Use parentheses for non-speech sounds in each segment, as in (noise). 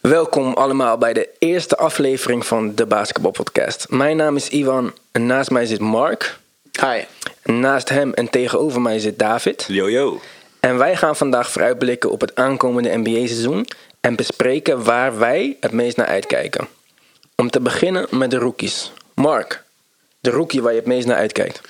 Welkom allemaal bij de eerste aflevering van de Basketbal Podcast. Mijn naam is Ivan en naast mij zit Mark. Hi. Naast hem en tegenover mij zit David. Yo, yo. En wij gaan vandaag vooruitblikken op het aankomende NBA-seizoen en bespreken waar wij het meest naar uitkijken. Om te beginnen met de rookies. Mark, de rookie waar je het meest naar uitkijkt.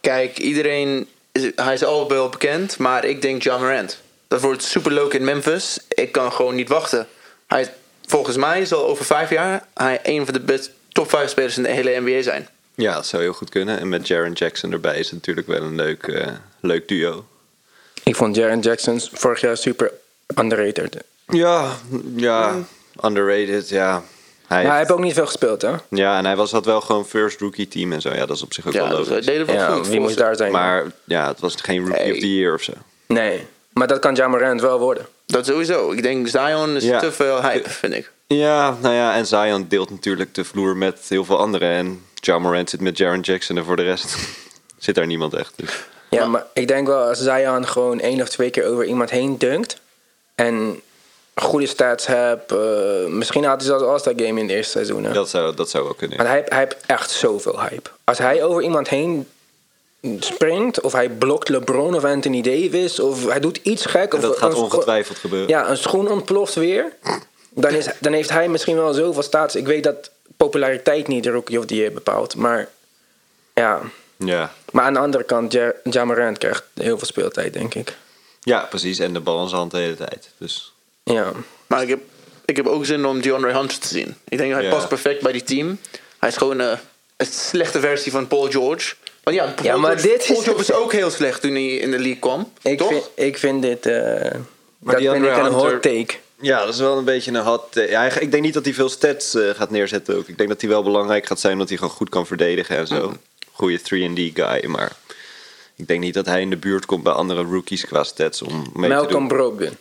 Kijk, iedereen, is, hij is al wel bekend, maar ik denk John Morant. Dat wordt super leuk in Memphis. Ik kan gewoon niet wachten. Hij, is- volgens mij zal over vijf jaar hij een van de best, top vijf spelers in de hele NBA zijn. Ja, dat zou heel goed kunnen. En met Jaron Jackson erbij is het natuurlijk wel een leuk, eh, leuk duo. Ik vond Jaren Jackson vorig jaar super underrated. Ja, ja. Underrated, ja. Hij Maar hij heeft- heeft ook niet veel gespeeld, hè? Ja, en hij was dat wel gewoon first rookie team en zo. Ja, dat is op zich ook Ja, dus wel dat logisch. deden we Ja, goed. wie moest daar zijn? Maar ja, het was geen rookie Hey. of the year of zo. Nee, maar dat kan Jamorant wel worden. Dat sowieso. Ik denk Zion is Ja. te veel hype, vind ik. Ja, nou ja, en Zion deelt natuurlijk de vloer met heel veel anderen. En Ja Morant zit met Jaron Jackson en voor de rest (laughs) zit daar niemand echt. Dus. Ja, maar ik denk wel als Zion gewoon één of twee keer over iemand heen dunkt. En goede stats hebt. eh, misschien had hij zelfs All-Star Game in het eerste seizoen. hè. Dat, zou, dat zou wel kunnen. Want hij, hij heeft echt zoveel hype. Als hij over iemand heen springt, of hij blokt LeBron of Anthony Davis, of hij doet iets gek. Of dat gaat een scho- ongetwijfeld eh. gebeuren. Ja, een schoen ontploft weer. Dan, is, dan heeft hij misschien wel zoveel staats. Ik weet dat populariteit niet de Rookie of the Year bepaalt, maar ja. Ja. Maar aan de andere kant, Ja- Ja Morant krijgt heel veel speeltijd, denk ik. ja, precies. En de bal in zijn hand de hele tijd. Dus Ja. Maar ik heb, ik heb ook zin om DeAndre Hunter te zien. Ik denk hij Ja. past perfect bij die team. Hij is gewoon eh, een slechte versie van Paul George. Want ja, Paul, Ja, maar George, dit is- Paul George was ook heel slecht toen hij in de league kwam. Ik, toch? Vind, ik vind dit. eh, dat die vind ik andere een Hunter- hot take. Ja, dat is wel een beetje een hot... eh, Ja, ik denk niet dat hij veel stats eh, gaat neerzetten ook. Ik denk dat hij wel belangrijk gaat zijn, omdat hij gewoon goed kan verdedigen en Mhm. zo. Goeie 3D guy, maar... Ik denk niet dat hij in de buurt komt bij andere rookies qua stats om mee te Malcolm doen. Brogdon.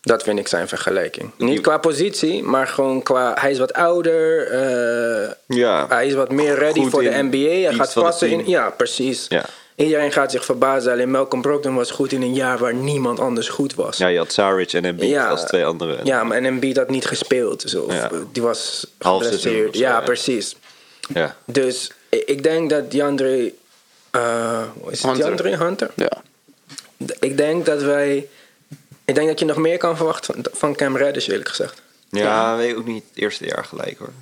Dat vind ik zijn vergelijking. Die- Niet qua positie, maar gewoon qua... Hij is wat ouder. eh, Ja. Hij is wat meer ready Goed voor de in NBA. Hij iets gaat van het passen in... team. Ja, precies. Ja. Iedereen gaat zich verbazen. Alleen Malcolm Brogdon was goed in een jaar waar niemand anders goed was. Ja, je had Saric en Embiid als twee andere. Ja, maar en Embiid had niet gespeeld. Dus, of, Ja. Die was Half seizoen geblesseerd. of zo, Ja, ja. precies. Ja. Dus i- ik denk dat DeAndre... eh hoe is het Hunter. DeAndre Hunter? Ja. Ik denk dat wij. Ik denk dat je nog meer kan verwachten van, van Cam Reddish, eerlijk gezegd. Ja, weet ik ook niet. Het eerste jaar gelijk hoor.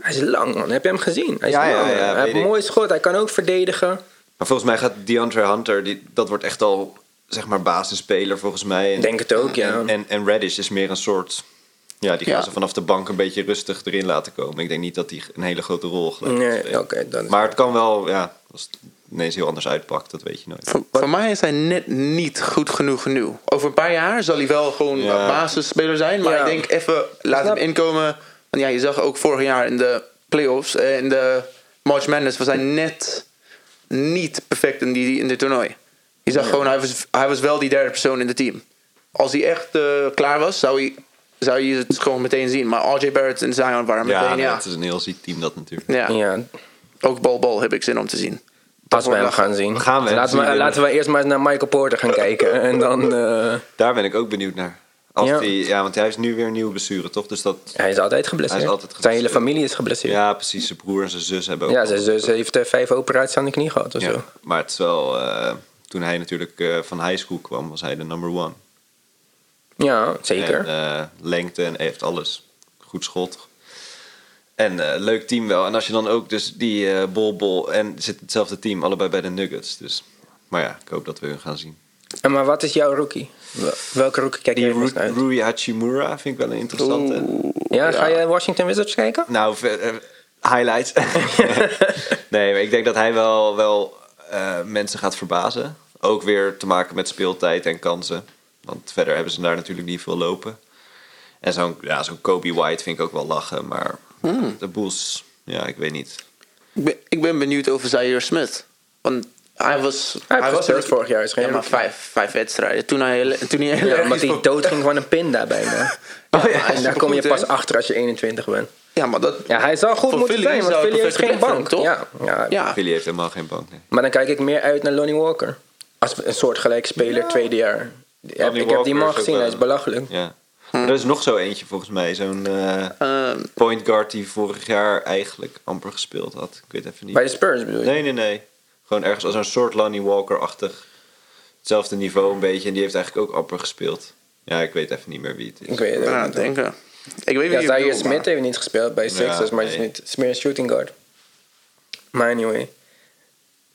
Hij is lang, man. Heb je hem gezien? Hij is Ja, ja, lang, man. ja, Hij heeft weet een ik. mooi schot. Hij kan ook verdedigen. Maar volgens mij gaat DeAndre Hunter, die, dat wordt echt al zeg maar basisspeler volgens mij. En, Denk het ook, ja. En, en, en Reddish is meer een soort... Ja, die gaan Ja. ze vanaf de bank een beetje rustig erin laten komen. Ik denk niet dat die een hele grote rol gelijk gaat Nee, oké. spelen. dan is- Maar het kan wel, ja, als het ineens heel anders uitpakt, dat weet je nooit. Voor, voor mij is hij net niet goed genoeg nu. Over een paar jaar zal hij wel gewoon Ja. een basisspeler zijn. Maar Ja. ik denk even, laat Snap. hem inkomen. Want ja, je zag ook vorig jaar in de playoffs, eh, in de March Madness, was hij net niet perfect in, die, in dit toernooi. Je zag gewoon, hij was, hij was wel die derde persoon in het team. Als hij echt eh, klaar was, zou, hij, zou je het gewoon meteen zien. Maar RJ Barrett en Zion waren Ja, meteen, nou, ja. het is een heel ziek team dat natuurlijk. ja. Ja, Ook bal-bal heb ik zin om te zien. als we wordt hem lachen. gaan zien. gaan we hem laten, we, zien, Eh, laten we eerst maar eens naar Michael Porter gaan kijken. En dan. eh, Daar ben ik ook benieuwd naar. Als Ja. ja. Die, ja, want hij is nu weer een nieuwe blessure, toch? Dus dat... hij is altijd geblesseerd. Hij is altijd Zijn hele geblesseerd. familie is geblesseerd. Ja, Ja, precies. Zijn broer en zijn zus hebben ook... zijn zus heeft eh, vijf operaties aan de knie gehad of zo. Ja, maar het is wel... eh, toen hij natuurlijk eh, van high school kwam, was hij de number one. Ja, zeker. En eh, lengte en hij heeft alles. Goed schot. En eh, leuk team wel. En als je dan ook dus die eh Bol Bol en zit hetzelfde team, allebei bij de Nuggets. Dus, maar ja, ik hoop dat we hun gaan zien. en maar wat is jouw rookie? Wel- Welke rookie kijk je Die het meest Ru- naar uit? Rui Hachimura vind ik wel een interessante. Ja, ga je Washington Wizards kijken? Nou, ver- eh, highlights. (laughs) nee, maar ik denk dat hij wel, wel eh, mensen gaat verbazen. Ook weer te maken met speeltijd en kansen. Want verder hebben ze daar natuurlijk niet veel lopen. En zo'n ja, zo'n Kobe White vind ik ook wel lachen. Maar de Bulls, ja, ik weet niet. Ik ben, ik ben benieuwd over Zaire Smith. Want hij was... heeft gespeeld er- vorig jaar, is geen ja, maar rookie. vijf, vijf wedstrijden. Toen hij, hele- toen hij heel Ja, erg omdat is hij ver- doodging van een pinda bijna. Ja, maar hij En is daar kom je pas supergoed, hè? achter als je 21 bent. Ja, maar dat... Ja, hij zou goed Voor moeten Philly zijn, want zou het Philly heeft geen perfect bank. zijn, Ja, ja. Ja. Philly heeft helemaal geen bank. Nee. Maar dan kijk ik meer uit naar Lonnie Walker. Als een soort gelijke speler, tweede jaar. Die- heb- Lonnie ik heb die Walker man is ook gezien, hij wel- is belachelijk. Ja. Maar er is nog zo eentje volgens mij. Zo'n eh, Ehm, point guard die vorig jaar eigenlijk amper gespeeld had. Ik weet even niet. Bij de Spurs bedoel je? Nee, nee, nee. Gewoon ergens als een soort Lonnie Walker-achtig. Hetzelfde niveau een beetje. En die heeft eigenlijk ook amper gespeeld. Ja, ik weet even niet meer wie het is. Ik weet nou, ik het ben ook aan niet. het denken. Ik weet Ja, niet Zaire Smith heeft niet gespeeld bij Sixers, maar nee. die is niet is meer een shooting guard. Maar anyway.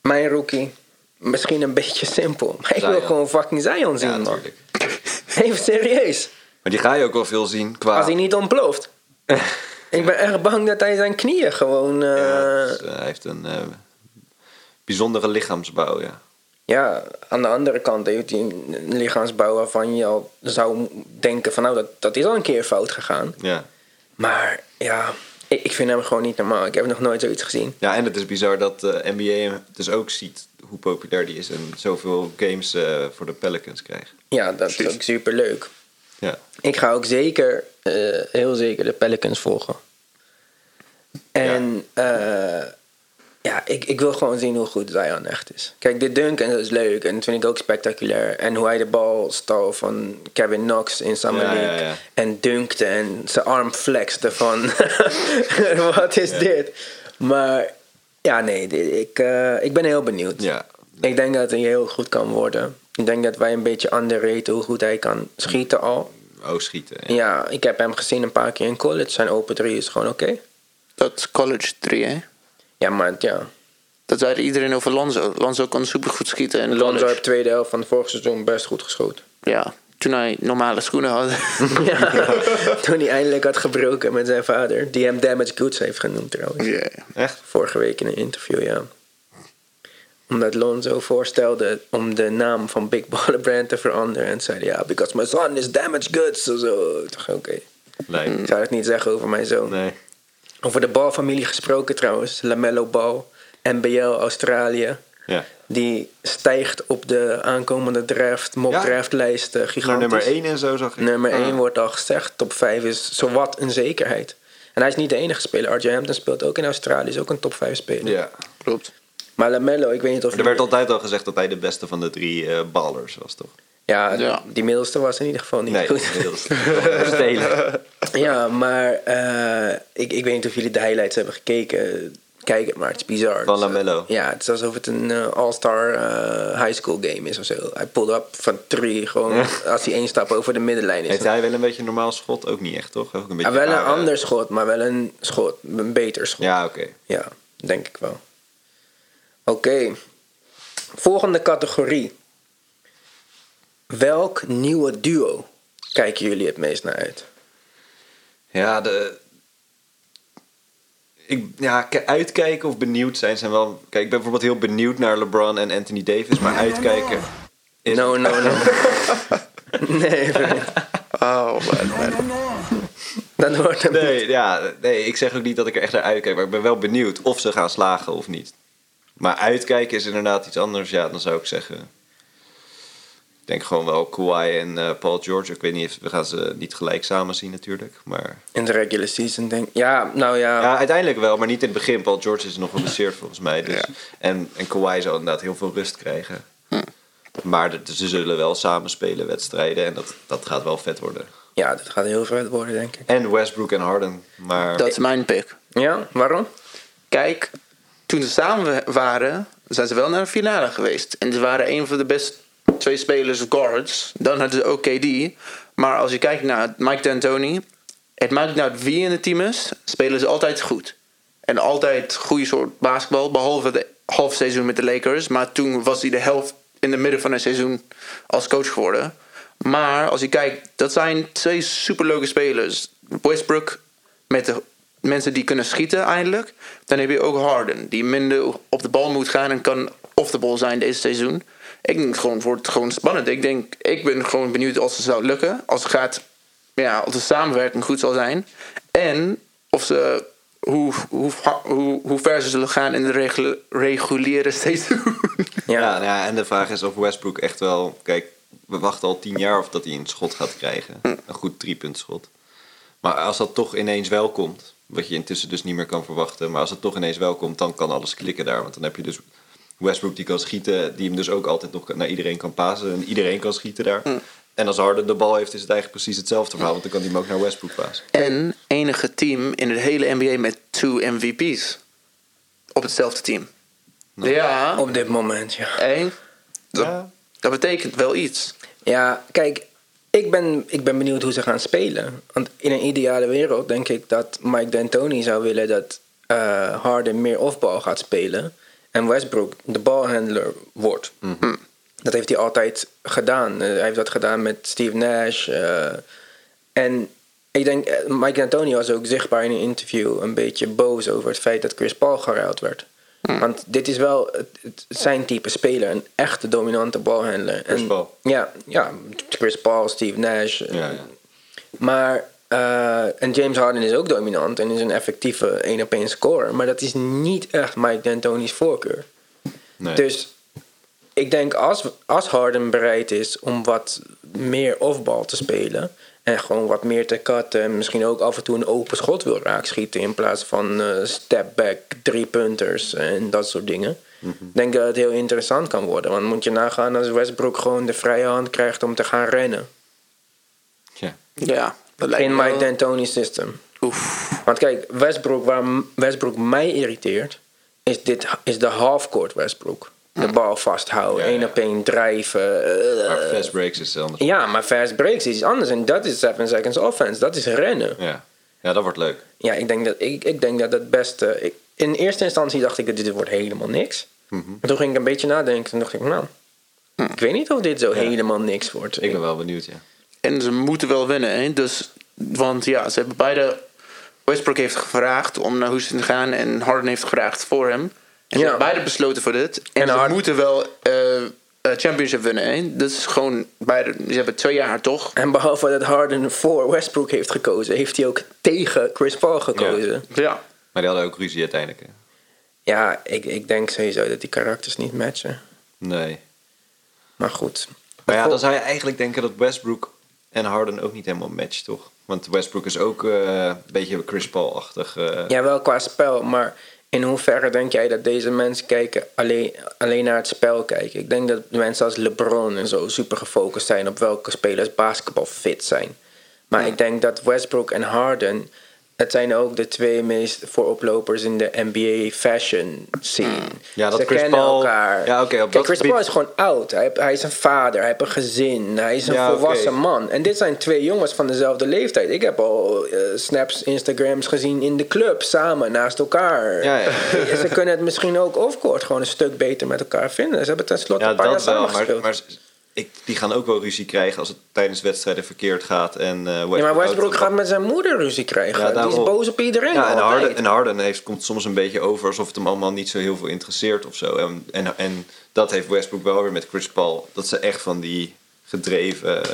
Mijn rookie. Misschien een beetje simpel. Maar ik wil Zion. gewoon fucking Zion zien, Ja, man. natuurlijk. (laughs) Even serieus. Maar die ga je ook wel veel zien qua... Als hij niet (laughs) ontploft. ik ben echt bang dat hij zijn knieën gewoon... eh, Ja, het is, eh, hij heeft een eh, bijzondere lichaamsbouw, ja. Ja, aan de andere kant heeft hij een lichaamsbouw waarvan je al zou denken van nou, dat, dat is al een keer fout gegaan. ja. Maar ja, ik, ik vind hem gewoon niet normaal. Ik heb nog nooit zoiets gezien. Ja, en het is bizar dat de NBA hem dus ook ziet hoe populair die is en zoveel games eh, voor de Pelicans krijgt. Ja, dat is ook super leuk. Ja. Ik ga ook zeker, eh, heel zeker de Pelicans volgen. En ja, ja ik, ik wil gewoon zien hoe goed Zion echt is. Kijk, de dunk en dat is leuk en dat vind ik ook spectaculair. En hoe hij de bal stal van Kevin Knox in Summer Ja, ja, League. ja. En dunkte en zijn arm flexte van... (laughs) Wat is dit? Maar ja, nee, di- ik, eh, ik ben heel benieuwd. Ja. Ik denk dat hij heel goed kan worden. Ik denk dat wij een beetje underraten hoe goed hij kan schieten al. Oh, schieten. Ja. Ja, ik heb hem gezien een paar keer in college. Zijn open 3 is gewoon oké. Dat is college 3, hè? Ja, maar ja. Dat zei iedereen over Lonzo. Lonzo kon supergoed schieten en Lonzo Lonzo heeft tweede helft van het vorige seizoen best goed (laughs) geschoten. Ja, toen hij normale schoenen had. (laughs) (laughs) Ja, toen hij eindelijk had gebroken met zijn vader. Die hem damaged goods heeft genoemd trouwens. Ja. Echt? Vorige week in een interview, ja. Omdat Lonzo voorstelde om de naam van Big Baller Brand te veranderen. En zei hij, ja, because my son is damaged goods. of Zo. Ik dacht, Oké, Nee. ik zou het niet zeggen over mijn zoon. Nee. Over de balfamilie gesproken trouwens. Lamello Bal, NBL Australië. Ja. Die stijgt op de aankomende draft, mock Ja. draftlijst eh, Naar gigantisch. nummer 1 en zo zag ik. Nummer Ah. 1 wordt al gezegd. Top 5 is zowat een zekerheid. En hij is niet de enige speler. RJ Hampton speelt ook in Australië. Is ook een top 5 speler. Ja. Klopt. Maar Lamello, ik weet niet of... Er werd altijd al gezegd dat hij de beste van de drie eh, ballers was, toch? ja, Ja. die middelste was in ieder geval niet Nee, goed. inmiddels. (laughs) Stelen. ja, maar eh, ik, ik weet niet of jullie de highlights hebben gekeken. Kijk het maar, het is bizar. Van Het is, LaMelo. eh, Ja, het is alsof het een eh, all-star eh, high school game is of zo. Hij pulled up van drie, gewoon als hij één stap over de middenlijn is. Heeft hij wel een beetje een normaal schot? Ook niet echt, toch? Ook een beetje Ja, Ah, wel een rare- ander schot, maar wel een schot. Een beter schot. Ja, oké. Ja, denk ik wel. Oké. Volgende categorie. Welk nieuwe duo kijken jullie het meest naar uit? Ja, de... Ik, ja, k- uitkijken of benieuwd zijn zijn wel... Kijk, ik ben bijvoorbeeld heel benieuwd naar LeBron en Anthony Davis, maar uitkijken... Is... No, no, no. nee, vriend. Oh, man. dat wordt hem. niet. Nee, ja, nee, ik zeg ook niet dat ik er echt naar uitkijk, maar ik ben wel benieuwd of ze gaan slagen of niet. Maar uitkijken is inderdaad iets anders, ja, dan zou ik zeggen... Ik denk gewoon wel Kawhi en eh, Paul George. Ik weet niet, of- we gaan ze niet gelijk samen zien natuurlijk, maar... In de regular season denk Ja, nou ja. Ja, uiteindelijk wel, maar niet in het begin. Paul George is nog geblesseerd volgens mij. Dus. En, en Kawhi zou inderdaad heel veel rust krijgen. Maar de- ze zullen wel samen spelen wedstrijden en dat, dat gaat wel vet worden. Ja, dat gaat heel vet worden, denk ik. En Westbrook en Harden. Maar Dat is mijn pick. Ja, waarom? Kijk, toen ze samen waren, zijn ze wel naar de finale geweest. En ze waren een van de beste twee spelers guards. Dan hadden ze OKD. Maar als je kijkt naar Mike D'Antoni... het maakt niet uit wie in het team is... spelen ze altijd goed. En altijd goede soort basketbal. Behalve de halfseizoen met de Lakers. Maar toen was hij de helft in de midden van het seizoen als coach geworden. Maar als je kijkt, dat zijn twee superleuke spelers. Westbrook met de mensen die kunnen schieten eindelijk. Dan heb je ook Harden, die minder op de bal moet gaan en kan off de bal zijn deze seizoen. Ik denk gewoon, het wordt gewoon spannend. Ik denk, ik ben gewoon benieuwd als het zou lukken. Als het gaat, ja, als de samenwerking goed zal zijn. En of ze, hoe, hoe, hoe, hoe ver ze zullen gaan in de regule- reguliere seizoen. (laughs) Ja. ja, nou ja, en de vraag is of Westbrook echt wel. Kijk, we wachten al tien jaar of dat hij een schot gaat krijgen. Hm. Een goed driepuntschot. Maar als dat toch ineens wel komt, wat je intussen dus niet meer kan verwachten. Maar als het toch ineens wel komt, dan kan alles klikken daar. Want dan heb je dus Westbrook die kan schieten, die hem dus ook altijd nog kan- naar iedereen kan pasen. En iedereen kan schieten daar. Hm. En als Harden de bal heeft, is het eigenlijk precies hetzelfde verhaal. Want dan kan hij hem ook naar Westbrook pasen. En enige team in het hele NBA met twee MVP's. Op hetzelfde team. Ja. Op dit moment, ja. Hé, dat, Ja. dat betekent wel iets. Ja, kijk, ik ben, ik ben benieuwd hoe ze gaan spelen. Want in een ideale wereld denk ik dat Mike D'Antoni zou willen dat eh, Harden meer offbal gaat spelen. En Westbrook de balhandler wordt. Mhm. Hm. Dat heeft hij altijd gedaan. Eh, hij heeft dat gedaan met Steve Nash. eh, en ik denk, eh, Mike D'Antoni was ook zichtbaar in een interview een beetje boos over het feit dat Chris Paul geruild werd. Hm. Want dit is wel het- het- zijn type speler, een echte dominante balhandler. Chris En- Paul. ja, ja, Chris Paul, Steve Nash. Ja, ja. Maar, eh, en James Harden is ook dominant en is een effectieve 1 op 1 scorer. Maar dat is niet echt Mike D'Antoni's voorkeur. Nee. Dus ik denk als, als Harden bereid is om wat meer offbal te spelen... en gewoon wat meer te cutten en misschien ook af en toe een open schot wil raakschieten... in plaats van eh step-back, drie-punters en dat soort dingen... denk ik dat het heel interessant kan worden. Want moet je nagaan als Westbrook gewoon de vrije hand krijgt om te gaan rennen... ja. Ja. Dat lijkt in me Mike wel- D'Antoni's system. Oef. Want kijk, Westbrook, waar m- Westbrook mij irriteert, is, dit, is de halfcourt Westbrook. Mhm. De bal vasthouden, Ja, één ja. op één drijven. eh. Maar fast breaks is anders. Ja. ja, maar fast breaks is iets anders. En dat is 7 seconds offense. Dat is rennen. Ja. dat wordt leuk. Ja, ik denk dat ik, ik denk dat het beste... ik- in eerste instantie dacht ik, dat dit wordt helemaal niks. Mhm. Maar toen ging ik een beetje nadenken en dacht ik, nou... Hm. Ik weet niet of dit zo helemaal niks wordt. Ik ben wel benieuwd, ja. En ze moeten wel winnen. Hè? Dus, want ja, ze hebben beide... Westbrook heeft gevraagd om naar Houston te gaan. En Harden heeft gevraagd voor hem. En ze Ja. hebben beide besloten voor dit. En, En ze Harden- moeten wel eh, eh, championship winnen. Hè? Dat is gewoon... Beide, ze hebben twee jaar, toch? En behalve dat Harden voor Westbrook heeft gekozen, heeft hij ook tegen Chris Paul gekozen. Ja. Maar die hadden ook ruzie uiteindelijk. hè. Ja, ik, ik denk sowieso dat die karakters niet matchen. Nee. Maar goed. Maar ja, Vol- dan zou je eigenlijk denken dat Westbrook en Harden ook niet helemaal matchen, toch? Want Westbrook is ook eh, een beetje Chris Paul-achtig. eh. Ja, wel qua spel, maar in hoeverre denk jij dat deze mensen kijken alleen, alleen naar het spel kijken? Ik denk dat mensen als LeBron en zo super gefocust zijn op welke spelers basketbal fit zijn. Maar ik denk dat Westbrook en Harden, het zijn ook de twee meest vooroplopers in de NBA fashion scene. Hmm. Ja, dat Ze Chris kennen Paul- elkaar. Ja, oké, op Kijk, dat Chris gebied- Paul is gewoon oud. Hij, hij is een vader, hij heeft een gezin, hij is een Ja, oké. volwassen man. En dit zijn twee jongens van dezelfde leeftijd. Ik heb al eh, snaps, Instagrams gezien in de club, samen, naast elkaar. Ja, ja. En Ze kunnen het misschien ook offcourt gewoon een stuk beter met elkaar vinden. Ze hebben tenslotte Ja, een paar jaar dat wel. samen Maar, gespeeld. maar ik, die gaan ook wel ruzie krijgen als het tijdens wedstrijden verkeerd gaat. En, eh, Westbrook ja, maar Westbrook houdt gaat van- met zijn moeder ruzie Ja, krijgen. Die is daarom. boos op iedereen. Ja, en altijd. Harden, en Harden heeft, komt soms een beetje over alsof het hem allemaal niet zo heel veel interesseert of zo. En, en, en dat heeft Westbrook wel weer met Chris Paul. Dat ze echt van die gedreven... eh,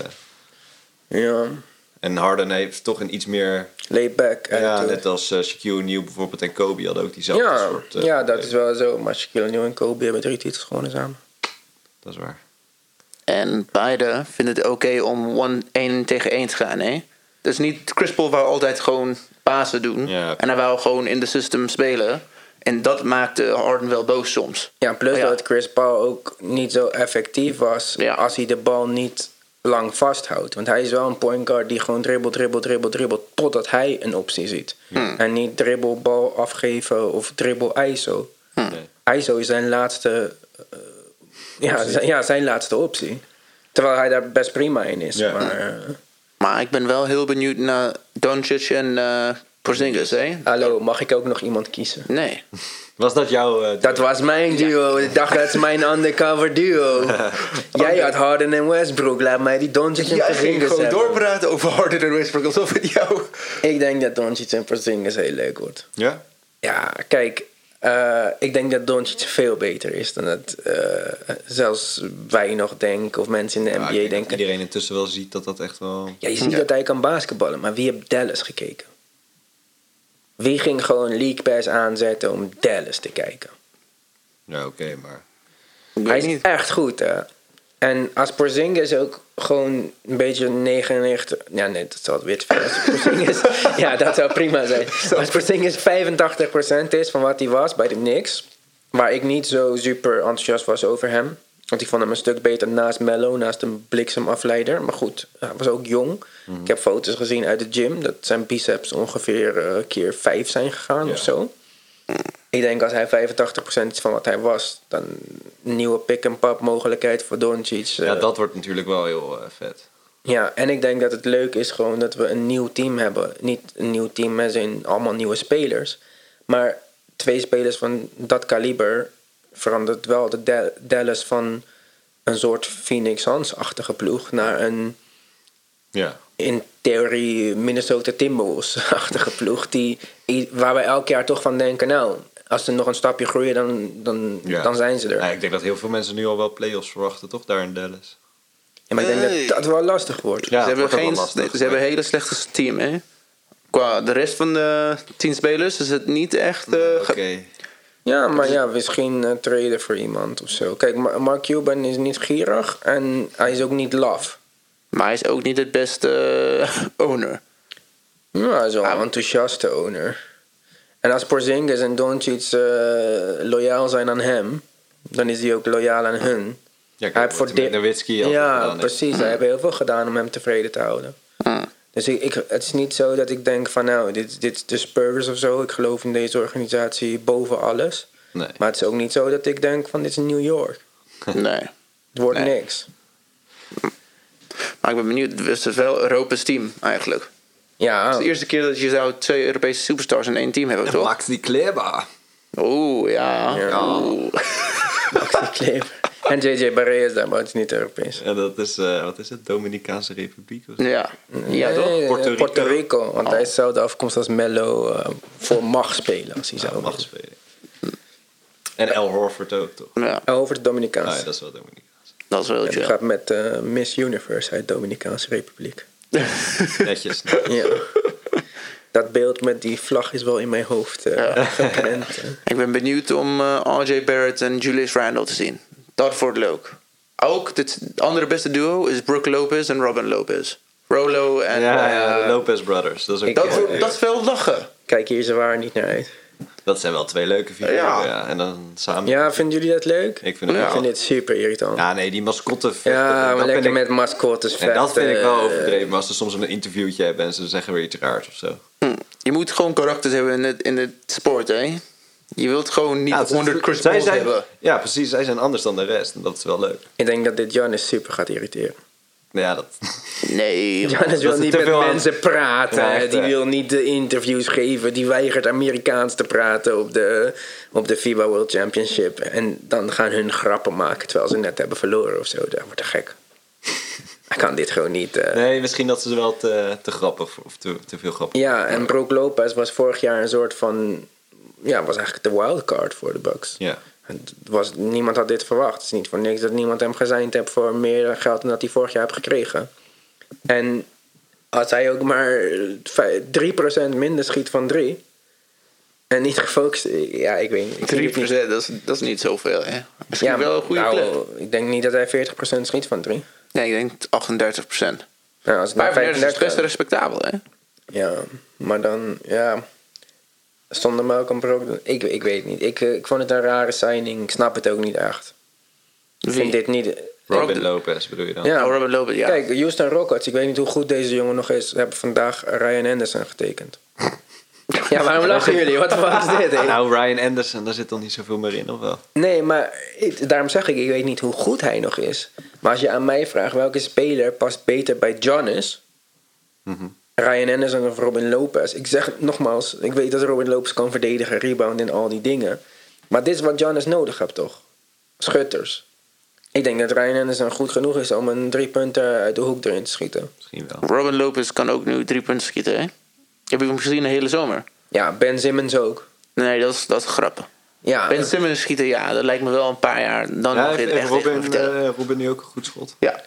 Ja, en Harden heeft toch een iets meer... laid back. Ja, attitude. net als eh, Shaquille O'Neal bijvoorbeeld en Kobe hadden ook diezelfde ja, soort... eh, ja, dat is wel zo. Maar Shaquille O'Neal en Kobe hebben drie titels gewonnen samen. Dat is waar. En beide vinden het oké om one- één tegen één te gaan, hè? Dus niet Chris Paul wou altijd gewoon pasen doen. Ja. En hij wou gewoon in de system spelen. En dat maakte Harden wel boos soms. Ja, plus Oh Ja. dat Chris Paul ook niet zo effectief was Ja. als hij de bal niet lang vasthoudt. Want hij is wel een point guard die gewoon dribbelt, dribbelt, dribbelt, dribbelt totdat hij een optie ziet. Hmm. En niet dribbel bal afgeven of dribbel ISO. Nee. ISO is zijn laatste, eh, ja, zijn, ja, zijn laatste optie. Terwijl hij daar best prima in is. Ja. Maar eh, Maar ik ben wel heel benieuwd naar Doncic en eh Porzingis, hè? hallo, mag ik ook nog iemand kiezen? Nee. Was dat jouw... eh, Dat was mijn duo. Ik dacht, dat is mijn undercover (laughs) duo. Jij had Harden en Westbrook. Laat mij die Doncic en Porzingis hebben. doorpraten over Harden en Westbrook alsof het jou... Ik denk dat Doncic en Porzingis heel leuk wordt. ja? Ja, kijk. eh, ik denk dat Doncic veel beter is dan dat eh, zelfs wij nog denken. Of mensen in de Ja, Nou, ik NBA denk dat denken. iedereen intussen wel ziet dat dat echt wel... Ja, je ziet Ja. dat hij kan basketballen. Maar wie heeft Dallas gekeken? Wie ging gewoon League Pass aanzetten om Dallas te kijken? Ja, oké, maar... Hij is echt goed, hè. En als Porzingis ook gewoon een beetje 99... Ja, nee, dat zal het weer te veel. Als Porzingis, ja, dat zou prima zijn. Als Porzingis 85% is van wat hij was bij de Knicks... Waar ik niet zo super enthousiast was over hem. Want ik vond hem een stuk beter naast Mello, naast een bliksemafleider. Maar goed, hij was ook jong. Ik heb foto's gezien uit de gym dat zijn biceps ongeveer eh, keer 5 zijn gegaan Ja. of zo. Ik denk als hij 85% is van wat hij was, dan een nieuwe pick-and-pop mogelijkheid voor Doncic. eh, Ja, dat wordt natuurlijk wel heel eh, vet. ja, en ik denk dat het leuk is gewoon dat we een nieuw team hebben. Niet een nieuw team met zijn allemaal nieuwe spelers. Maar twee spelers van dat kaliber verandert wel de Da- Dallas van een soort Phoenix Suns-achtige ploeg naar een Ja. in theorie Minnesota (laughs) Timberwolves-achtige ploeg. Die, waar wij elk jaar toch van denken, nou, als ze nog een stapje groeien, dan, dan, Ja. dan zijn ze er. Ja, ik denk dat heel veel mensen nu al wel play-offs verwachten, toch? Daar in Dallas. En maar ik denk Nee. dat dat wel lastig wordt. Ja, ze hebben, wordt ook geen, wel lastig. ze hebben een hele slechte team, hè? Qua de rest van de tien spelers is het niet echt... eh, Oké. ge- Ja, maar ja, misschien eh traden voor iemand of zo. Kijk, Ma- Mark Cuban is niet gierig en hij is ook niet laf. Maar hij is ook niet het beste eh, owner. Ja, hij is wel een Ah. enthousiaste owner. En als Porzingis en Doncic eh, loyaal zijn aan hem, dan is hij ook loyaal aan hun. kijk, hij heeft wat voor hij Di- met Nowitzki al gedaan Ja, heeft. precies. Hij heeft heel veel gedaan om hem tevreden te houden. Hm. Dus ik, ik, het is niet zo dat ik denk van nou, dit, dit is de Spurs of zo. Ik geloof in deze organisatie boven alles. Nee. (laughs) Maar het is ook niet zo dat ik denk van dit is New York. Nee. Het wordt Nee. niks. Maar ik ben benieuwd, het is wel Europees team eigenlijk. Het Ja, is de eerste keer dat je zou twee Europese superstars in één team hebben, En toch? Max die Kleber. Oeh, ja. Ja. Oeh. Maxi Kleber. En JJ Barré is daar, maar het is niet Europees. En dat is, eh, wat is het? Dominicaanse Republiek of zo? Ja. Ja, toch? Nee, Puerto Puerto Rico. Rico. want hij is dezelfde afkomst als Mello eh, voor mag spelen. Als hij Ja, zou mag mag. spelen. En El Horford ook, toch? Ja, Oh, Over de Dominicaans. Ah, ja, dat is wel Dominicaans. dat is wel En die chill. gaat met eh, Miss Universe uit Dominicaanse Republiek. Netjes. Ja. (laughs) dat beeld met die vlag is wel in mijn hoofd eh (laughs) geprent. Ik ben benieuwd om eh, RJ Barrett en Julius Randle te zien. Dat wordt leuk. Ook het andere beste duo is Brooke Lopez en Robin Lopez. Rolo en... (laughs) Ja, ja, eh, de Lopez Brothers. Dat, is ook Ik- dat, wel wordt- leuk. dat is wel lachen. Kijk hier ze waar niet naar uit. Dat zijn wel twee leuke figuren. Ja. Ja. En dan samen. Ja, vinden jullie dat leuk? Ik vind het ik wel- vind dit super irritant. Ja, Ja, nee, die mascotte. vechten, Dus dat maar lekker vind ik- met mascottes En dat vind ik wel vechten, eh, overdreven. Maar als ze soms een interviewtje hebben en ze zeggen weer iets raars of zo. Hm. Je moet gewoon karakters hebben in het, in het sport, hè? Je wilt gewoon niet Ja, 100 ze- Chris zij Pauls zijn- hebben. Ja, precies. Zij zijn anders dan de rest. En dat is wel leuk. Ik denk dat dit Janis super gaat (laughs) irriteren. Nou (laughs) Ja, dat... Nee, man. Janis wil Dus er niet te met veel aan- mensen praten. Ja, echt, die hè. wil niet de interviews geven. Die weigert Amerikaans te praten op de, op de FIBA World Championship. En dan gaan hun grappen maken terwijl ze net hebben verloren of zo. Dat wordt te (laughs) gek. Hij kan dit gewoon niet. eh. Nee, misschien dat ze wel te, te grappig of te, te veel grappig. Ja, en Brook Lopez was vorig jaar een soort van. Ja, was eigenlijk de wildcard voor de Bucks. Ja. Het was, niemand had dit verwacht. Het is niet voor niks dat niemand hem gezeind heeft voor meer geld dan dat hij vorig jaar heeft gekregen. En als hij ook maar vij- 3% minder schiet van 3. En niet gefocust. Ja, ik weet niet. Ik vind 3 het niet. dat is, dat is niet zoveel, hè? Misschien Ja, wel een goede nou, plek. Ik denk niet dat hij 40% schiet van 3. Nee, ik denk 38 procent. Nou, als het naar 35 is dus 35 best respectabel, hè? Ja, maar dan, ja. Zonder Malcolm Brogdon, ik, ik weet niet. Ik, eh, ik vond het een rare signing. Ik snap het ook niet echt. Ik vind dit niet... Robin Lopez bedoel je dan? Ja. Oh, Robin Lopez, ja. Kijk, Houston Rockets. Ik weet niet hoe goed deze jongen nog is. Hebben vandaag Ryan Anderson getekend. (laughs) ja, waarom lachen jullie? Wat de fuck is (laughs) (laughs) dit? hè? Nou, Ryan Anderson, daar zit dan niet zoveel meer in, of wel? Nee, maar ik- daarom zeg ik, ik weet niet hoe goed hij nog is. Maar als je aan mij vraagt welke speler past beter bij Giannis, Ryan Anderson of Robin Lopez. Ik zeg nogmaals, ik weet dat Robin Lopez kan verdedigen, rebound en al die dingen. Maar dit is wat Giannis nodig hebt, toch? Schutters. Ik denk dat Ryan Anderson goed genoeg is om een drie punter uit de hoek erin te schieten. Misschien wel. Robin Lopez kan ook nu drie punten schieten, hè? Heb ik hem gezien de hele zomer? Ja, Ben Simmons ook. Nee, dat is, dat is grappig. Ja, Ben Simmons schieten, ja, dat lijkt me wel een paar jaar. Dan eh, Ja, mag je het heeft echt tegen me Robin, vertellen. eh, Robin nu ook een goed schot? ja.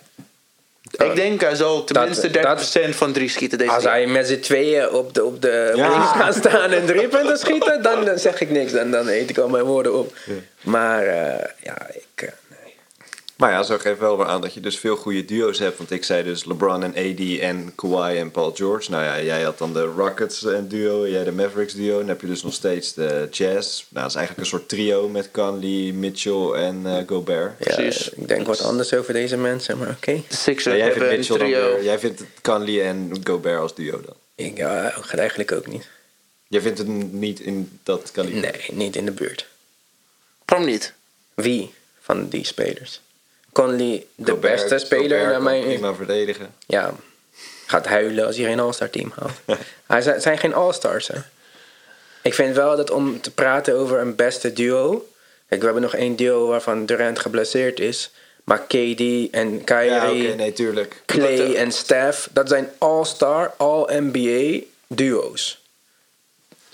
ik denk hij zal tenminste dat- 30 van drie schieten deze als keer. hij met z'n tweeën op de, op de Ja. wings gaat staan en drie punten schieten, dan eh, zeg ik niks. Dan, dan eet ik al mijn woorden op. Maar eh, ja, ik... eh, nee. Maar ja, zo geeft wel weer aan dat je dus veel goede duo's hebt. Want ik zei dus LeBron en AD en Kawhi en Paul George. Nou ja, jij had dan de Rockets en duo, jij de Mavericks duo. Dan heb je dus nog steeds de Jazz. Nou, dat is eigenlijk een soort trio met Conley, Mitchell en eh, Gobert. Ja, Precies. ik denk wat anders over deze mensen, maar oké. De Ja, Sixers jij vindt hebben een Mitchell dan trio. weer- jij vindt Conley en Gobert als duo dan. Ik ja, ik ga het eigenlijk ook niet. Jij vindt het niet in dat kaliber. Nee, niet in de buurt. Waarom niet? Wie van die spelers? Conley, de Gobert- beste speler Gobert naar kan mijn... prima verdedigen. Ja, gaat huilen als hij geen All-Star team haalt. Hij zijn, zijn geen All-Stars, hè. Ik vind wel dat om te praten over een beste duo... Kijk, we hebben nog één duo waarvan Durant geblesseerd is. Maar KD en Kyrie, Ja, oké, nee, tuurlijk. Clay en Steph... dat zijn All-Star, All-NBA duo's.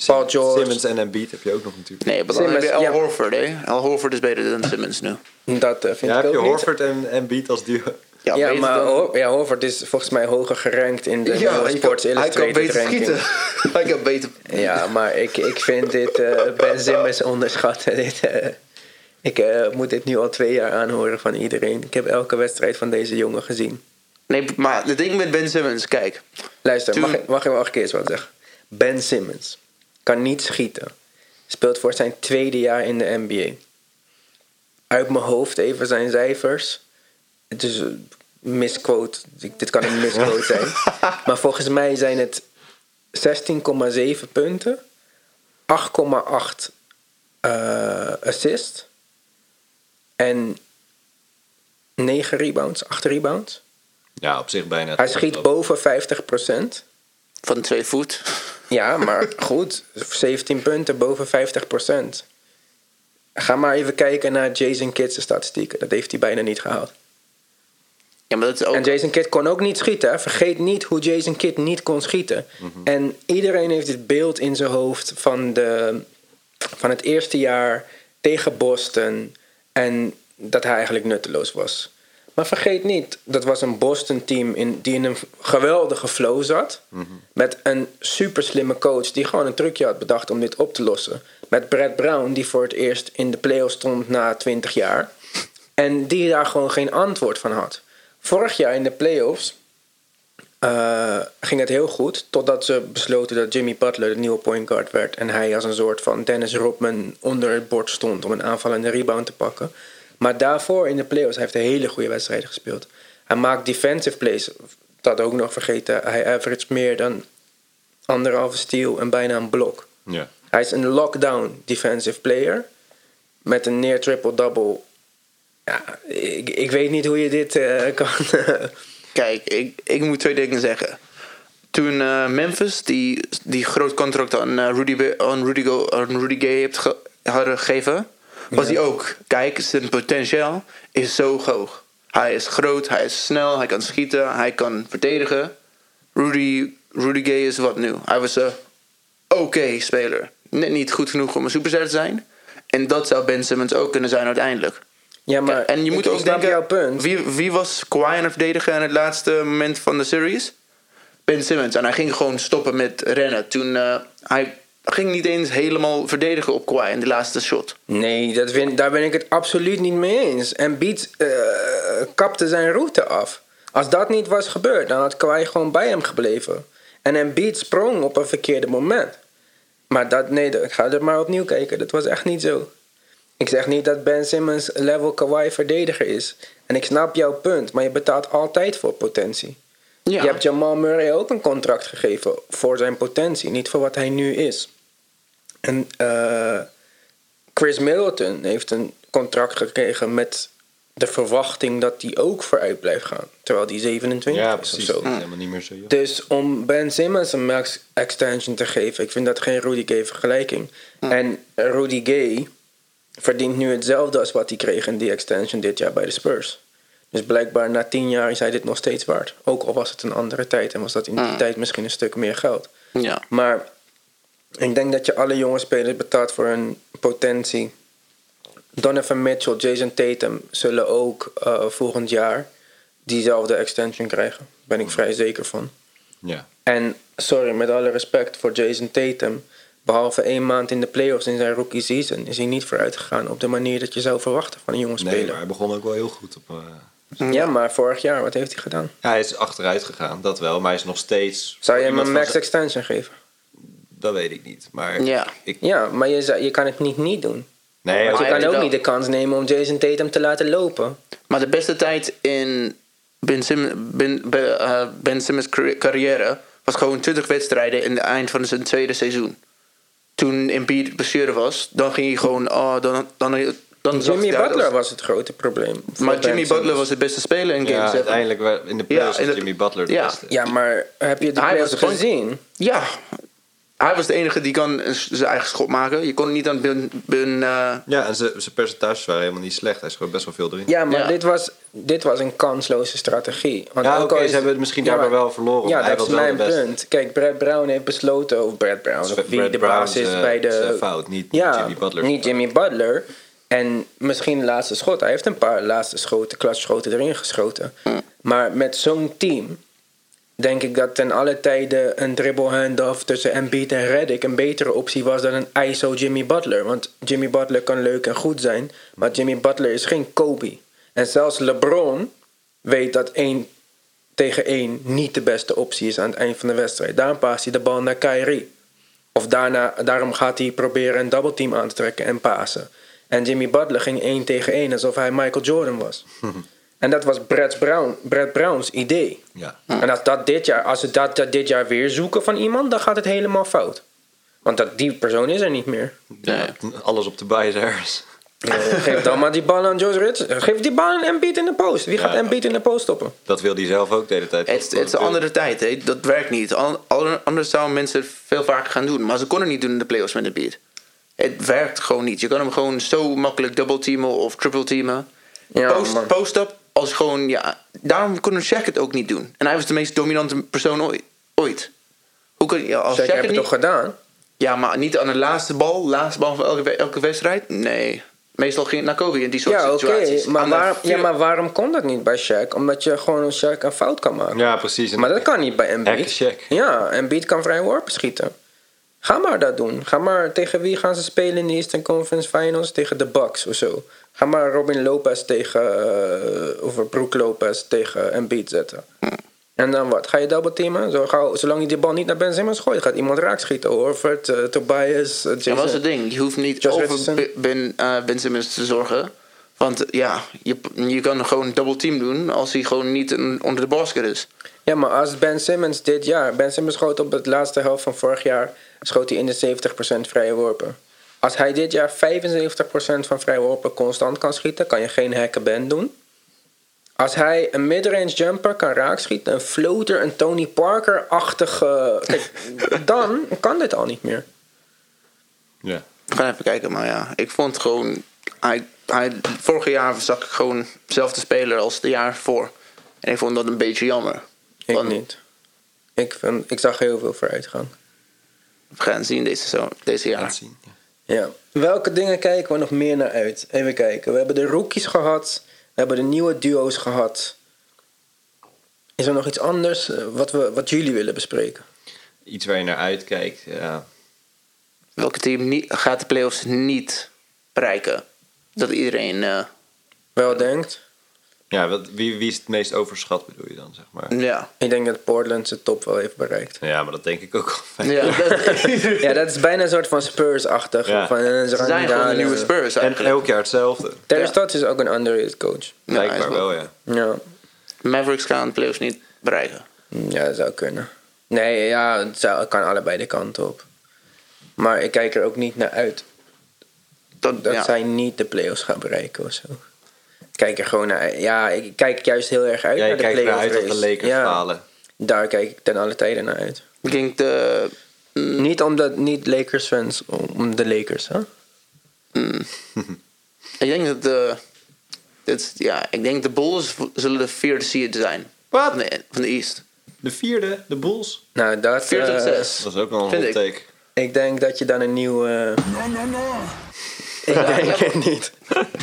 Paul George. Simmons en Embiid heb je ook nog natuurlijk. Nee, maar dan Simmons, heb je Al ja. Horford, hè? Al Horford is beter dan Simmons nu. Dat eh, vind Ja, ik heb ook je niet. Horford en Embiid als duo. Ja, beter maar dan- Ho- ja, Horford is volgens mij hoger gerankt in de Ja, Sports hij kan, hij Illustrated kan beter ranking. schieten. (laughs) hij kan beter... Ja, maar ik, ik vind dit eh Ben Simmons onderschatten. (laughs) Dit, eh, ik eh, moet dit nu al twee jaar aanhoren van iedereen. Ik heb elke wedstrijd van deze jongen gezien. Nee, maar het ding met Ben Simmons, kijk. Luister, Toen- mag, ik- mag ik wel een keer eens wat zeggen? Ben Simmons kan niet schieten. Speelt voor zijn tweede jaar in de NBA. Uit mijn hoofd even zijn cijfers. Het is een misquote. Ik- Dit kan een misquote zijn. Maar volgens mij zijn het 16,7 punten. 8,8 eh assist. En 9 rebounds, 8 rebounds. Ja, op zich bijna. Hij schiet boven 50%. Van twee voet. Ja, maar goed. 17 punten boven 50%. Ga maar even kijken naar Jason Kidd's statistieken. Dat heeft hij bijna niet gehaald. Ja, maar dat is ook... En Jason Kidd kon ook niet schieten. hè. Vergeet niet hoe Jason Kidd niet kon schieten. En iedereen heeft dit beeld in zijn hoofd van, de, van het eerste jaar tegen Boston. En dat hij eigenlijk nutteloos was. Maar vergeet niet, dat was een Boston-team in, die in een geweldige flow zat. Met een super slimme coach die gewoon een trucje had bedacht om dit op te lossen. Met Brad Brown, die voor het eerst in de playoffs stond na 20 jaar. En die daar gewoon geen antwoord van had. Vorig jaar in de playoffs eh, ging het heel goed. Totdat ze besloten dat Jimmy Butler de nieuwe point guard werd. En hij als een soort van Dennis Rodman onder het bord stond om een aanvallende rebound te pakken. Maar daarvoor in de playoffs, hij heeft een hele goede wedstrijd gespeeld. Hij maakt defensive plays. Dat ook nog vergeten. Hij averaged meer dan anderhalve steal en bijna een blok. Ja. Hij is een lockdown defensive player. Met een near triple-double. Ja, ik, ik weet niet hoe je dit eh, kan. (laughs) Kijk, ik, ik moet twee dingen zeggen. Toen eh, Memphis die, die groot contract aan eh, Rudy, Be- aan Rudy, Go- aan Rudy Gay heeft ge- hadden gegeven, was hij ook. Kijk, zijn potentieel is zo hoog. Hij is groot, hij is snel, hij kan schieten, hij kan verdedigen. Rudy, Rudy Gay is wat nu. Hij was een oké speler. Net niet goed genoeg om een superster te zijn. En dat zou Ben Simmons ook kunnen zijn uiteindelijk. ja, maar en je moet ik, ook ik snap denken, jouw punt. Wie, wie was Kawhi aan het verdedigen aan het laatste moment van de series? Ben Simmons. En hij ging gewoon stoppen met rennen. Toen eh, hij ging niet eens helemaal verdedigen op Kawhi in de laatste shot. Nee, dat vind, daar ben ik het absoluut niet mee eens. En Beat eh, kapte zijn route af. Als dat niet was gebeurd, dan had Kawhi gewoon bij hem gebleven. En Embiid sprong op een verkeerde moment. Maar dat, nee, dat- ik ga er maar opnieuw kijken. Dat was echt niet zo. Ik zeg niet dat Ben Simmons level Kawhi verdediger is. En ik snap jouw punt, maar je betaalt altijd voor potentie. Ja. Je hebt Jamal Murray ook een contract gegeven voor zijn potentie, niet voor wat hij nu is. En eh, Chris Middleton heeft een contract gekregen met de verwachting dat hij ook vooruit blijft gaan. Terwijl hij 27 ja, is of precies. zo. Dat is helemaal niet meer zo jong. Dus om Ben Simmons een max extension te geven, ik vind dat geen Rudy Gay vergelijking. En Rudy Gay verdient nu hetzelfde als wat hij kreeg in die extension dit jaar bij de Spurs. Dus blijkbaar na tien jaar is hij dit nog steeds waard. Ook al was het een andere tijd en was dat in die Mm. tijd misschien een stuk meer geld. Ja. Maar ik denk dat je alle jonge spelers betaalt voor hun potentie. Donovan Mitchell, Jason Tatum zullen ook eh, volgend jaar diezelfde extension krijgen. Daar ben ik vrij zeker van. Ja. En sorry, met alle respect voor Jason Tatum. Behalve één maand in de playoffs in zijn rookie season is hij niet vooruit gegaan op de manier dat je zou verwachten van een jonge Nee, speler. maar hij begon ook wel heel goed op... eh, Ja, maar vorig jaar, wat heeft hij gedaan? Ja, hij is achteruit gegaan, dat wel. Maar hij is nog steeds... Zou je hem iemand een van max zijn- extension geven? Dat weet ik niet. Maar Ja. ik... Ja, maar je, zou- je kan het niet niet doen. Want Nee, maar je hij kan weet ook wel. niet de kans nemen om Jason Tatum te laten lopen. Maar de beste tijd in Ben, Sim, ben, Ben- eh, ben Simmons' carri- carrière was gewoon 20 wedstrijden in het eind van zijn tweede seizoen. Toen Embiid blessure was, dan ging hij gewoon... Oh, dan, dan, dan, zag Jimmy hij uit Butler als- was het grote probleem. voor Maar Ben Jimmy Butler Simmons. was de beste speler in Game ja, 7. uiteindelijk wel- in de playoffs Ja, in is de- Jimmy Butler de Ja. beste. Ja, maar heb je de Hij was playoffs de point- gezien? Ja, hij was de enige die kan een- zijn eigen schot maken. Je kon niet aan Ben... ben eh, Ja, en zijn zijn percentages waren helemaal niet slecht. Hij schoot best wel veel erin. Ja, maar Ja. Dit, was, dit was een kansloze strategie. Want Ja, ook al oké, ze is- hebben het misschien daardoor wel verloren, Ja, maar hij dat is was wel de mijn beste. punt. Kijk, Brad Brown heeft besloten, of Brad Brown, Dus of Brad wie Nou, de Brown baas is zijn- bij de... zijn eh, fout, niet Jimmy Butler. niet Jimmy Butler. En misschien de laatste schot. Hij heeft een paar laatste schoten, klasschoten erin geschoten. Maar met zo'n team denk ik dat ten alle tijde een dribble handoff tussen Embiid en Reddick een betere optie was dan een ISO Jimmy Butler. Want Jimmy Butler kan leuk en goed zijn, maar Jimmy Butler is geen Kobe. En zelfs LeBron weet dat één tegen één niet de beste optie is aan het eind van de wedstrijd. Daarom paast hij de bal naar Kyrie. Of daarna, daarom gaat hij proberen een double team aan te trekken en pasen. En Jimmy Butler ging één tegen één alsof hij Michael Jordan (laughs) was. en dat was Brad, Brown, Brad Brown's idee. Ja. En als, dat dit jaar, als ze dat, dat dit jaar weer zoeken van iemand, dan gaat het helemaal fout. Want dat, die persoon is er niet meer. ja. Alles op de bijzers. Eh, (laughs) Geef dan maar die bal aan Josh Rich. Geef die bal aan Embiid in de post. Wie gaat Ja. Embiid in de post stoppen? Dat wil hij zelf ook de hele tijd. eh, Het, het is een andere tijd, hè. dat werkt niet. Al- al- Anders zouden mensen het veel vaker gaan doen. Maar ze konden niet doen in de playoffs met de beat. Het werkt gewoon niet. Je kan hem gewoon zo makkelijk double teamen of triple teamen. Ja, man. Post- Post-up als gewoon, ja. Daarom kon Shaq het ook niet doen. En hij was de meest dominante persoon ooit. ooit. Hoe kan je als Zeker Shaq heb het je niet... toch gedaan? Ja, maar niet aan de laatste bal, laatste bal van elke, elke wedstrijd. Nee. Meestal ging het naar Kobe in die soort Ja, oké. situaties. Maar, Aan de waarom- ja, vier- maar waarom kon dat niet bij Shaq? Omdat je gewoon een Shaq een fout kan maken. Ja, precies. Maar dat kan niet bij Hekke Embiid. Shaq. Ja, Embiid kan vrij worpen schieten. Ga maar dat doen. Ga maar tegen wie gaan ze spelen in de Eastern Conference Finals? Tegen de Bucks of zo. Ga maar Robin Lopez tegen... eh, of Brook Lopez tegen Embiid zetten. En dan wat? Ga je double teamen? Zo gauw, zolang je die bal niet naar Ben Simmons gooit, gaat iemand raak schieten. Horford, eh, Tobias, eh, Ja, Jason. maar dat is het ding. Je hoeft niet Josh over Richardson. Ben- ben, eh ben Simmons te zorgen. Want eh, ja, je, je kan gewoon double team doen als hij gewoon niet een- onder de basket is. Ja, maar als Ben Simmons dit jaar... Ben Simmons schoot op het laatste helft van vorig jaar... schoot hij in de 70% vrije worpen. Als hij dit jaar 75% van vrije worpen constant kan schieten... kan je geen hekken Ben doen. Als hij een midrange jumper kan raakschieten... een floater, een Tony Parker-achtige... Kijk, dan kan dit al niet meer. Ja. We gaan even kijken, maar ja, ik vond gewoon. Hij, hij, vorig jaar zag ik gewoon dezelfde speler als de jaar voor. En ik vond dat een beetje jammer. Ik Want niet. Ik, vind, ik zag heel veel vooruitgang. We gaan zien deze, zo, deze jaar. zien. ja. Ja. Welke dingen kijken we nog meer naar uit? Even kijken. We hebben de rookies gehad. We hebben de nieuwe duo's gehad. Is er nog iets anders eh, wat, we, wat jullie willen bespreken? Iets waar je naar uitkijkt. Ja. Welke team niet, gaat de playoffs niet bereiken? Dat iedereen. eh, Wel denkt. Ja, wat, wie, wie is het meest overschat bedoel je dan, zeg maar? ja. Ik denk dat Portland zijn top wel heeft bereikt. (laughs) Ja, maar dat denk ik ook al. ja dat- Ja, dat is bijna een soort van Spurs-achtig. Ja. Van, eh, ze Ze gaan zijn niet gewoon de halen. nieuwe Spurs En eigenlijk. elk jaar hetzelfde. Terry Ja. Stotts is ook een underrated coach. Ja, hij is Blijkbaar wel- wel, ja. Ja. Mavericks gaan de playoffs niet bereiken. Ja, dat zou kunnen. Nee, ja, het zou- het kan allebei de kanten op. Maar ik kijk er ook niet naar uit. Dat, dat ja. zij niet de play-offs gaan bereiken of zo. Ik Kijk er gewoon naar. Ja, ik kijk juist heel erg uit Ja, je naar de kijkt play-off naar uit dat de race. Lakers Ja, falen. Daar kijk ik ten alle tijden naar uit. Ik denk de... Niet omdat niet Lakers fans, om de Lakers, hè? Ik denk dat de... dit is- ja, ik denk de Bulls v- zullen de vierde seed zijn. Wat? van de East. De vierde, de Bulls. Nou, dat. 4 tot eh, 6. Dat is ook wel een Vind hot ik. take. ik denk dat je dan een nieuw. (laughs) eh, Ik denk het niet.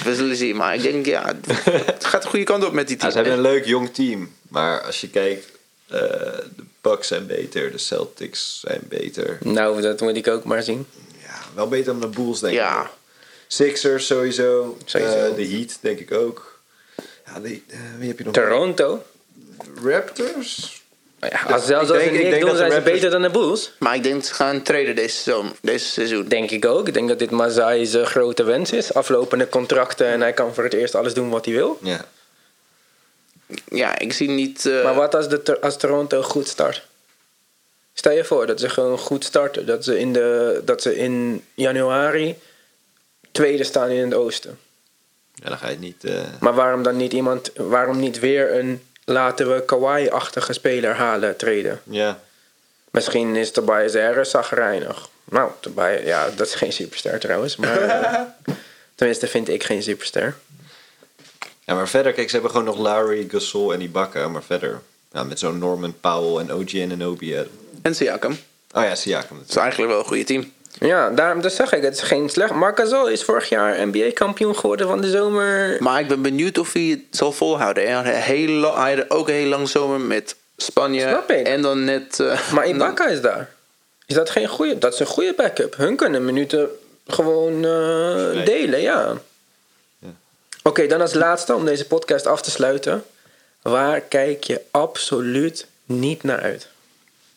We zullen zien, maar ik denk ja, het gaat de goede kant op met die Ja, team. ze hebben een leuk jong team. Maar als je kijkt eh, de Bucks zijn beter, de Celtics zijn beter. Nou, dat moet ik ook maar zien. Ja, wel beter dan de Bulls, denk ik. Ja. Sixers sowieso. Sowieso. Eh, de Heat, denk ik ook. Ja, die, eh, wie heb je nog? Toronto? Raptors? Nou Ja, als, zelfs als denk- ze ik denk niks dat doen, de zijn ze Raptors- beter dan de Bulls. Maar ik denk dat ze gaan traden deze, zomer, deze seizoen. Denk ik ook. Ik denk dat dit Mazai zijn grote wens is. Aflopende contracten en hij kan voor het eerst alles doen wat hij wil. Ja. Ja, ik zie niet... eh, Maar wat als, de, Tor- als Toronto goed start? Stel je voor dat ze gewoon goed starten. Dat ze in, de, dat ze in januari tweede staan in het oosten. ja, dan ga je het niet... eh, Maar waarom dan niet iemand... Waarom niet weer een laten we Kawhi-achtige speler halen, treden? ja. Misschien is Tobias Harris zagrijnig. Nou, Tobias, ja, dat is geen superster trouwens. Maar, eh, tenminste vind ik geen superster. ja, maar verder, kijk, ze hebben gewoon nog Lowry, Gasol en Ibaka. Maar verder, ja, met zo'n Norman Powell en OG en Obi. eh, En Siakam. Het Oh ja, Siakam natuurlijk. is eigenlijk wel een goede team. Ja, daarom dus zeg ik, het is geen slecht. Marc Gasol is vorig jaar NBA-kampioen geworden van de zomer. Maar ik ben benieuwd of hij het zal volhouden. Hij had, een heel lang, hij had ook een heel lang zomer met Spanje. Snap ik. En dan net... eh, (laughs) Maar Ibaka is daar. Is dat geen goede? Dat is een goede backup. Hun kunnen minuten gewoon eh, delen, ja. Ja. Oké, dan als laatste om deze podcast af te sluiten. Waar kijk je absoluut niet naar uit?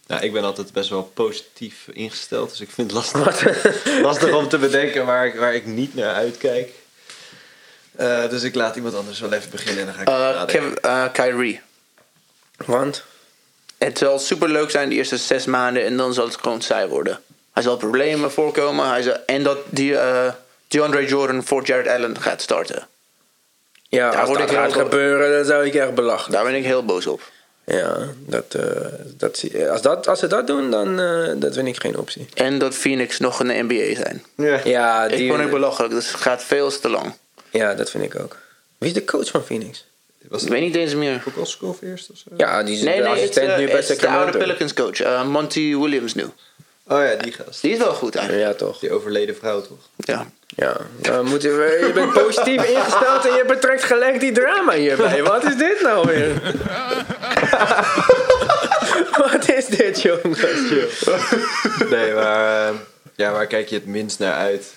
Nou, ik ben altijd best wel positief ingesteld, dus ik vind het lastig, (laughs) lastig om te bedenken waar ik, waar ik niet naar uitkijk. Eh, dus ik laat iemand anders wel even beginnen en dan ga ik eh, even nadenken. Kev- eh, Kyrie. Want Het zal super leuk zijn de eerste zes maanden en dan zal het gewoon saai worden. Hij zal problemen voorkomen hij zal, en dat die, eh DeAndre Jordan voor Jared Allen gaat starten. ja, Daar als word dat ik gaat heel- gebeuren, dan zou ik echt belachelijk. Daar ben ik heel boos op. Ja, dat, eh, dat, zie- als, dat, als ze dat doen, dan eh, dat vind ik geen optie. En dat Phoenix nog in de NBA zijn. Ja. Ja, ik die, vond het belachelijk, dus het gaat veel te lang. ja, dat vind ik ook. Wie is de coach van Phoenix? Was Ik het weet niet eens meer. Kokoskov eerst of zo? Ja, die is Nee, de nee, het, assistent eh, nu bij het is de oude Sacramento. Pelicans coach, eh, Monty Williams nu. Oh ja, die gast. Die is wel goed eigenlijk. Ja, toch. Die overleden vrouw, toch? Ja. Ja, dan moeten we, je bent positief ingesteld en je betrekt gelijk die drama hierbij. Wat is dit nou weer? (laughs) Wat is dit, jongens? Nee, maar... eh, ja, waar kijk je het minst naar uit?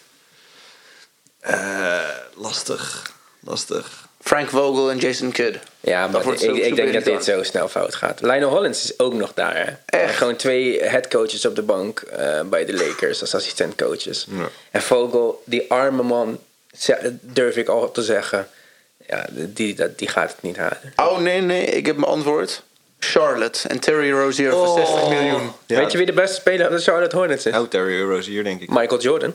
Eh, lastig. Lastig. Frank Vogel en Jason Kidd. Ja, Dat maar wordt ik, zo- ik zo denk dat dit irritant. zo snel fout gaat. Lionel Hollins is ook nog daar. Hè? Echt? Gewoon twee headcoaches op de bank eh, bij de Lakers als assistentcoaches. En Vogel, die arme man, ze- durf ik al te zeggen. Ja, die, dat, die gaat het niet halen. Oh nee, nee, ik heb mijn antwoord. Oh. Charlotte en Terry Rozier voor 60 miljoen. Ja. Weet je wie de beste speler van de Charlotte Hornets is? Nou, Terry Euro's hier, denk ik. Michael Jordan.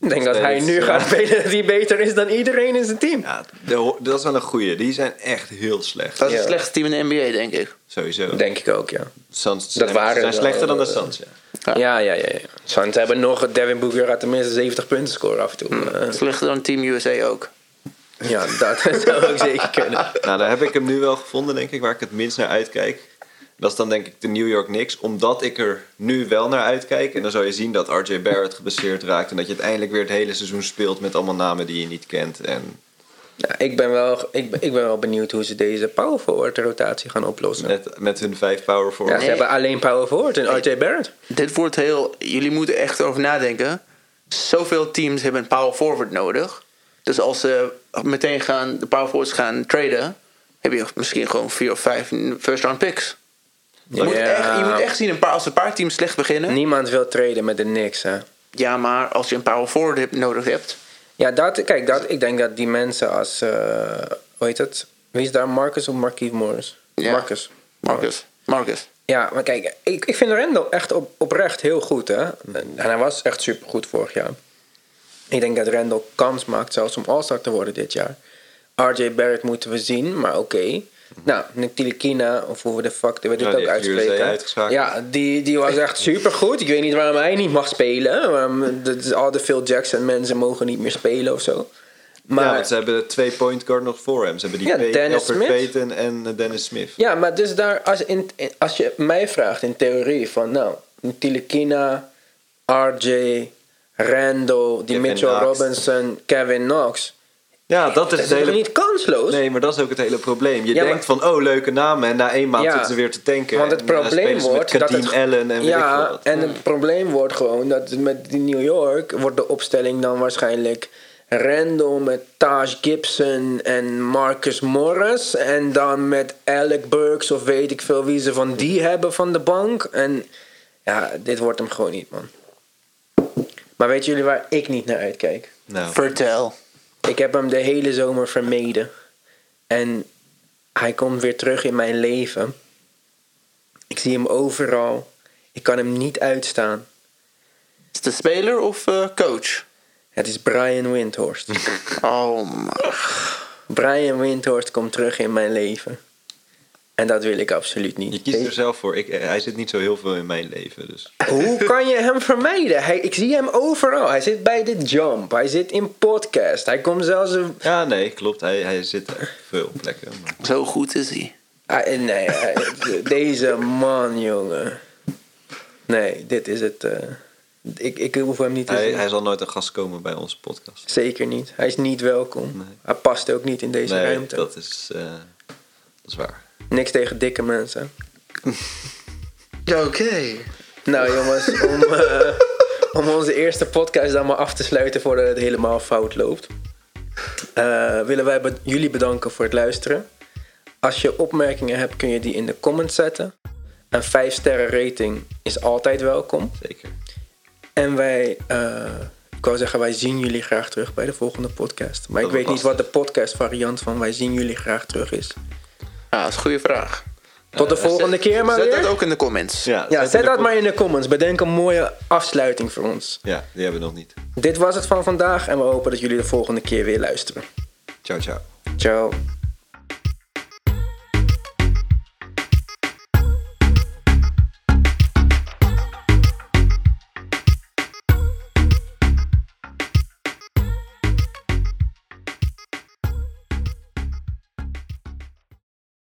Ik denk dat hij dat is, nu ja. gaat spelen die beter is dan iedereen in zijn team. Ja, de ho- dat is wel een goeie. Die zijn echt heel slecht. Dat is het Ja. slechtste team in de NBA, denk ik. Sowieso. Denk ik ook, ja. Suns ze Dat zijn, waren ze zijn wel, slechter dan de eh, Suns, ja. Ja. Ja, ja, ja. ja. Suns hebben nog... Devin Booker gaat tenminste 70 punten scoren af en toe. Eh, Slechter dan Team USA ook. Ja, dat (laughs) zou ook zeker kunnen. Nou, daar heb ik hem nu wel gevonden, denk ik, waar ik het minst naar uitkijk. Dat is dan denk ik de New York Knicks. Omdat ik er nu wel naar uitkijk. En dan zou je zien dat RJ Barrett geblesseerd raakt. En dat je uiteindelijk weer het hele seizoen speelt met allemaal namen die je niet kent. En Ja, ik, ben wel, ik, ben, ik ben wel benieuwd hoe ze deze power forward rotatie gaan oplossen. met, met hun vijf power Ja, ze forwards. Nee. hebben alleen power forward en RJ Barrett. Dit wordt heel... Jullie moeten echt over nadenken. Zoveel teams hebben een power forward nodig. Dus als ze meteen gaan, de power forwards gaan traden... heb je misschien gewoon vier of vijf first round picks. Je, moet, Ja. echt, je moet echt zien, een paar, als een paar teams slecht beginnen... Niemand wil traden met de Knicks, hè. Ja, maar als je een power forward hebt- nodig hebt... Ja, dat, kijk, dat, ik denk dat die mensen als... eh hoe heet het? Wie is daar? Marcus of Marquise Morris? Ja. Marcus. Marcus, Marcus. Ja, maar kijk, ik, ik vind Randall echt op, oprecht heel goed, hè. En hij was echt supergoed vorig jaar. Ik denk dat Randall kans maakt zelfs om All-Star te worden dit jaar. RJ Barrett moeten we zien, maar oké. Nou, Ntilikina, of hoe we de fuck we dit Ja, die ook heeft USA uitspreken. uitgeschakeld. Ja, die, die was echt supergoed. Ik weet niet waarom hij niet mag spelen. Waarom, dat is al de Phil Jackson mensen mogen niet meer spelen of zo. Maar, Maar, ja, ze hebben twee point guard nog voor hem. Ze hebben die Ja, Pe- Dennis Alfred Smith. Payton en eh, Dennis Smith. maar dus daar, als, in, in- als je mij vraagt in theorie van, nou, Ntilikina, RJ, Randall, die Kevin Mitchell Knox. Robinson, Kevin Knox. Ja, dat is Dat het is toch hele... niet kansloos? Nee, maar dat is ook het hele probleem. Je Ja, denkt van, oh, leuke namen. En na één maand Ja. zitten ze weer te tanken. Want het en, eh, spelen probleem ze met wordt dat Kadeem het, Allen en weet ik ja, veel wat. en het probleem wordt gewoon dat met die New York wordt de opstelling dan waarschijnlijk random met Taj Gibson en Marcus Morris en dan met Alec Burks of weet ik veel wie ze van die hebben van de bank en ja, dit wordt hem gewoon niet man. Maar weten jullie waar ik niet naar uitkijk? Nou, Vertel. Ik heb hem de hele zomer vermeden en hij komt weer terug in mijn leven. Ik zie hem overal. Ik kan hem niet uitstaan. Is het de speler of eh, coach? Het is Brian (laughs) Windhorst. Oh man. Brian Windhorst komt terug in mijn leven. En dat wil ik absoluut niet. je kiest Deze- er zelf voor. Ik, eh, hij zit niet zo heel veel in mijn leven. Dus. (laughs) Hoe kan je hem vermijden? Hij, ik zie hem overal. Hij zit bij de jump. Hij zit in podcast. Hij komt zelfs... Een, Ja, nee, klopt. Hij, hij zit op veel plekken. Maar... Zo goed is hij. Ah, eh, nee, eh, (laughs) deze man, jongen. Nee, dit is het. eh. ik, ik hoef hem niet te Hij, zien. hij zal nooit een gast komen bij onze podcast. Zeker niet. Hij is niet welkom. Nee. Hij past ook niet in deze Nee, ruimte. dat is, eh, dat is waar. Niks tegen dikke mensen. Oké. Nou jongens, om, eh, om onze eerste podcast dan maar af te sluiten voordat het helemaal fout loopt. eh, willen wij be- jullie bedanken voor het luisteren. Als je opmerkingen hebt kun je die in de comments zetten. Een 5 sterren rating is altijd welkom. Zeker. En wij, eh, ik wou zeggen, wij zien jullie graag terug bij de volgende podcast. Maar Dat ik weet wordt niet wat de podcast variant van wij zien jullie graag terug is. Ja, dat is een goede vraag. Tot de Eh, volgende keer maar Zet dat weer. ook in de comments. Ja, Ja, in zet de dat com- maar in de comments. Bedenk een mooie afsluiting voor ons. Ja, die hebben we nog niet. Dit was het van vandaag en we hopen dat jullie de volgende keer weer luisteren. Ciao, ciao. Ciao.